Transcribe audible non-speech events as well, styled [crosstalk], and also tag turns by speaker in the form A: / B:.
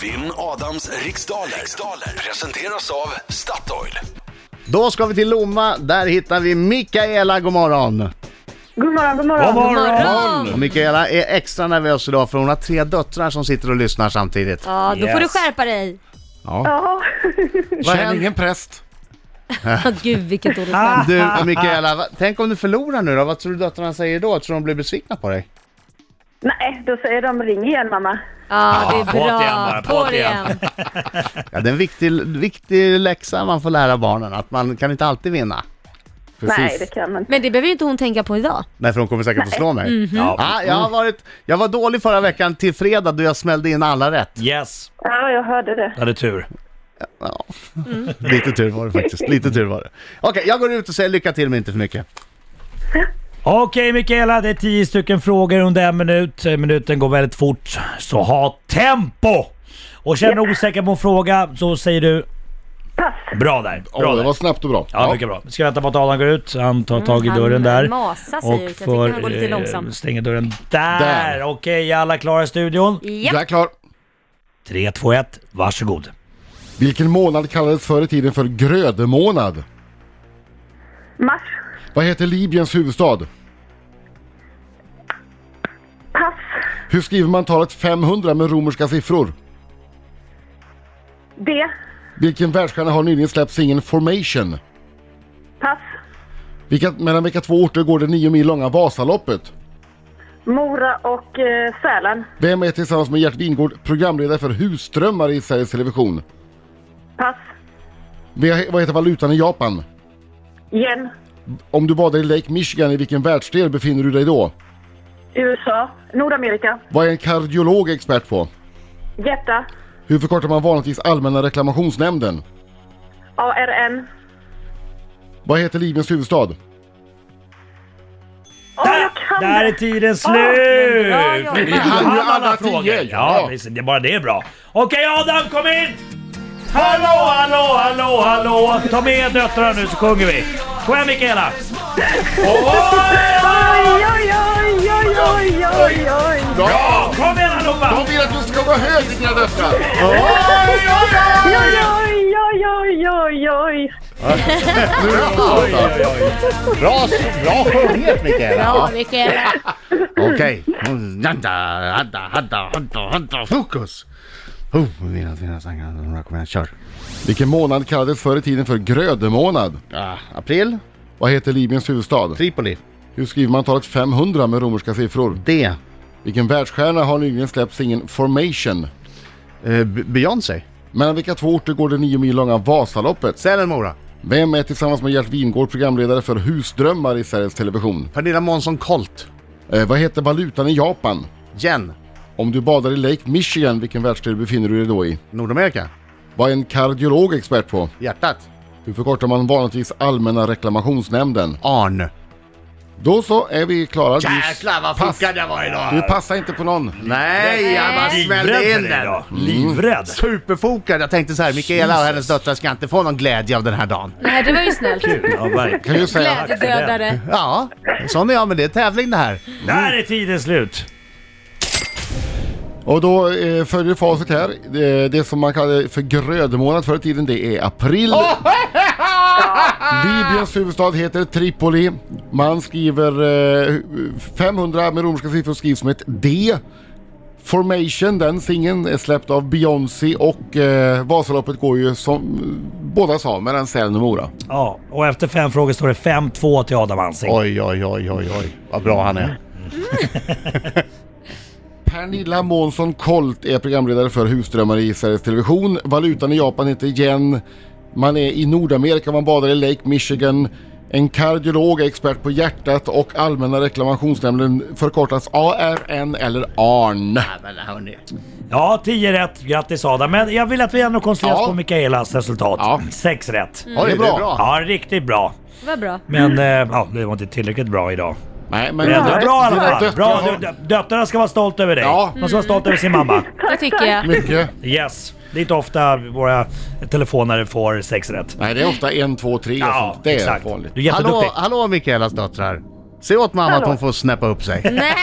A: Vinn Adams riksdaler. riksdaler presenteras av Statoil.
B: Då ska vi till Lomma, där hittar vi Mikaela, god morgon.
C: God morgon, god morgon.
D: God morgon!
B: Och Mikaela är extra nervös idag för hon har tre döttrar som sitter och lyssnar samtidigt.
E: Ja, då får du
D: Yes.
E: skärpa dig. [laughs]
B: Ja.
C: Ja, [laughs]
B: Vad
F: Känn
B: händer?
F: ingen präst.
E: Gud vilket dåligt skämt.
B: Du Mikaela, va- tänk om du förlorar nu då? Vad tror du döttrarna säger då? Tror du de blir besvikna på dig?
C: nej, då säger de ring igen mamma.
E: Ja, det är
D: på det Ah, igen
E: bra.
D: bara, på
E: På
D: det
E: det
D: igen.
E: igen.
B: Ja, det är en viktig, viktig läxa man får lära barnen, att man kan inte alltid vinna.
C: Nej,
F: Precis.
C: det kan man inte.
E: Men det behöver ju inte hon tänka på idag.
B: Nej, för de kommer säkert att slå mig.
E: Mm.
D: Ja.
B: Ja, jag, har varit, jag var dålig förra veckan till fredag då jag smällde in alla rätt.
D: Yes,
C: Ja, jag hörde det.
D: hade tur.
B: Ja. Lite tur var det faktiskt. Lite tur var det. Okej, jag går ut och säger lycka till men inte för mycket.
D: Okej Mikaela, det är tio stycken frågor under en minut. Minuten går väldigt fort, så ha tempo! Och känner du osäker på en fråga så säger du...
C: Pass.
D: Bra där! Bra
F: Åh, det
D: där.
F: var snabbt och bra.
D: Ja, mycket bra. Ska vänta på att Adam går ut. Han tar tag i
E: Mm, han
D: dörren där.
E: masar, säger du, så jag tycker han går lite
D: eh,
E: långsamt.
D: stänger dörren där.
F: Där.
D: Okej, alla klara i studion?
F: Jag
E: Ja.
F: är klar.
D: 3, 2, 1, varsågod.
F: Vilken månad kallades förr i tiden för grödemånad?
C: Mars.
F: Vad heter Libyens huvudstad?
C: Pass.
F: Hur skriver man talet 500 med romerska siffror?
C: D.
F: Vilken världsstjärna har nyligen släppt singeln Formation?
C: Pass.
F: Vilka, mellan vilka två orter går det nio mil långa Vasaloppet?
C: Mora och eh, Sälen.
F: Vem är tillsammans med Gert Wingårdh programledare för Husdrömmar i Sveriges Television?
C: Pass.
F: Ve- Vad heter valutan i Japan?
C: Yen.
F: Om du badar i Lake Michigan, i vilken världsdel befinner du dig då?
C: USA. Nordamerika.
F: Vad är en kardiolog expert på?
C: Hjärta.
F: Hur förkortar man vanligtvis Allmänna reklamationsnämnden?
C: ARN.
F: Vad heter Libyens huvudstad?
C: Åh, jag kan
D: Där är
C: det!
D: tiden
E: bra
D: slut!
E: jobbat.
D: Vi
F: hann ju alla
D: frågor.
F: tio,
D: Ja,
F: ja.
D: precis. Det är bara det är bra. Okej Adam, kom in! Hallå, hallå, hallå, hallå! Ta med döttrarna nu så sjunger vi. Kom igen Mikaela!
C: Oj, oj, oj, oj, oj, oj, oj.
F: Bra!
D: Kom igen allihopa!
F: vill att du ska gå hög i dina döttrar!
C: Oj, oj, oj, oj, oj, oj.
B: Bra, bra sjunget Mikaela!
E: Bra Mikaela.
B: Okej. Hadda, hadda, hadda, hadda, hadda, fokus! Oh, mina, mina sangar, några kommer jag, kör.
F: Vilken månad kallades förr i tiden för grödemånad?
B: Ah, april,
F: Vad heter Libyens huvudstad?
B: Tripoli,
F: Hur skriver man talet 500 med romerska siffror?
B: D. eh,
F: Vilken världsstjärna har nyligen släppt singeln Formation?
B: Eh, B- Beyoncé,
F: Mellan vilka två orter går det nio mil långa Vasaloppet?
B: Sälen, Mora,
F: Vem är tillsammans med Gert Wingårdh programledare för Husdrömmar i Sveriges Television?
B: Pernilla Månsson Colt,
F: Eh, vad heter valutan i Japan?
B: Jen,
F: Om du badar i Lake Michigan, vilken världsdel befinner du dig då i?
B: Nordamerika,
F: Vad är en kardiolog expert på?
B: Hjärtat,
F: Hur förkortar man vanligtvis Allmänna reklamationsnämnden?
B: Arn.
F: Då så är vi klara. Du-
B: Jäklar vad puckad jag var idag!
F: Du passar inte på någon.
B: Nej, jag bara smällde in den!
D: Livrädd!
B: Superfokad! Jag tänkte så här, Mikaela och hennes döttrar ska inte få någon glädje av den här dagen.
E: Nej, det var ju snällt.
D: Ja, verkligen.
F: Kan ju säga.
E: Glädjedödare.
B: Ja, sån är jag, men det är tävling det här.
D: Där är tiden slut!
F: Och då eh, följer facit här. Det, det som man kallade för grödmånad förr i tiden, det är april. [laughs] Libyens huvudstad heter Tripoli. Man skriver eh, 500 med romerska siffror skrivs som ett D. Formation, den singeln, är släppt av Beyoncé och eh, Vasaloppet går ju som eh, båda sa, mellan Sälen och Mora.
D: Ja, och efter fem frågor står det 5-2 till Adam Alsing.
B: Oj, oj, oj, oj, oj. Vad bra han är.
F: Pernilla Månsson Colt är programledare för Husdrömmar i Sveriges Television. Valutan i Japan heter yen. Man är i Nordamerika, man badar i Lake Michigan. En kardiolog är expert på hjärtat och Allmänna reklamationsnämnden förkortas ARN eller ARN.
B: Men hörni.
D: Ja, 10 rätt. Grattis Adam. Men jag vill att vi ändå koncentrerar oss
F: Ja.
D: på Mikaelas
F: Ja.
D: resultat. 6 rätt.
B: Oj, det är bra.
D: Ja, riktigt bra.
E: Vad bra.
D: Men
F: Mm.
D: eh, ja, det var inte tillräckligt bra idag.
F: Nej, men...
D: Men ändå
F: Dina
D: bra i alla fall.
F: döttrar
D: Bra.
F: har-
D: Du- dö- Döttrarna ska vara stolta över dig.
F: Ja.
D: De ska vara stolta över sin mamma.
E: Det tycker jag.
F: Mycket.
D: Yes. Det är inte ofta våra telefonare får 6 rätt.
F: Nej, det är ofta en, två, tre.
D: Ja,
F: sånt. det är
D: exakt.
F: vanligt.
D: Du är jätteduktig.
B: Hallå, hallå Mikaelas döttrar. Se åt mamma att
C: Hallå.
B: hon får snäppa upp sig.
E: Nej!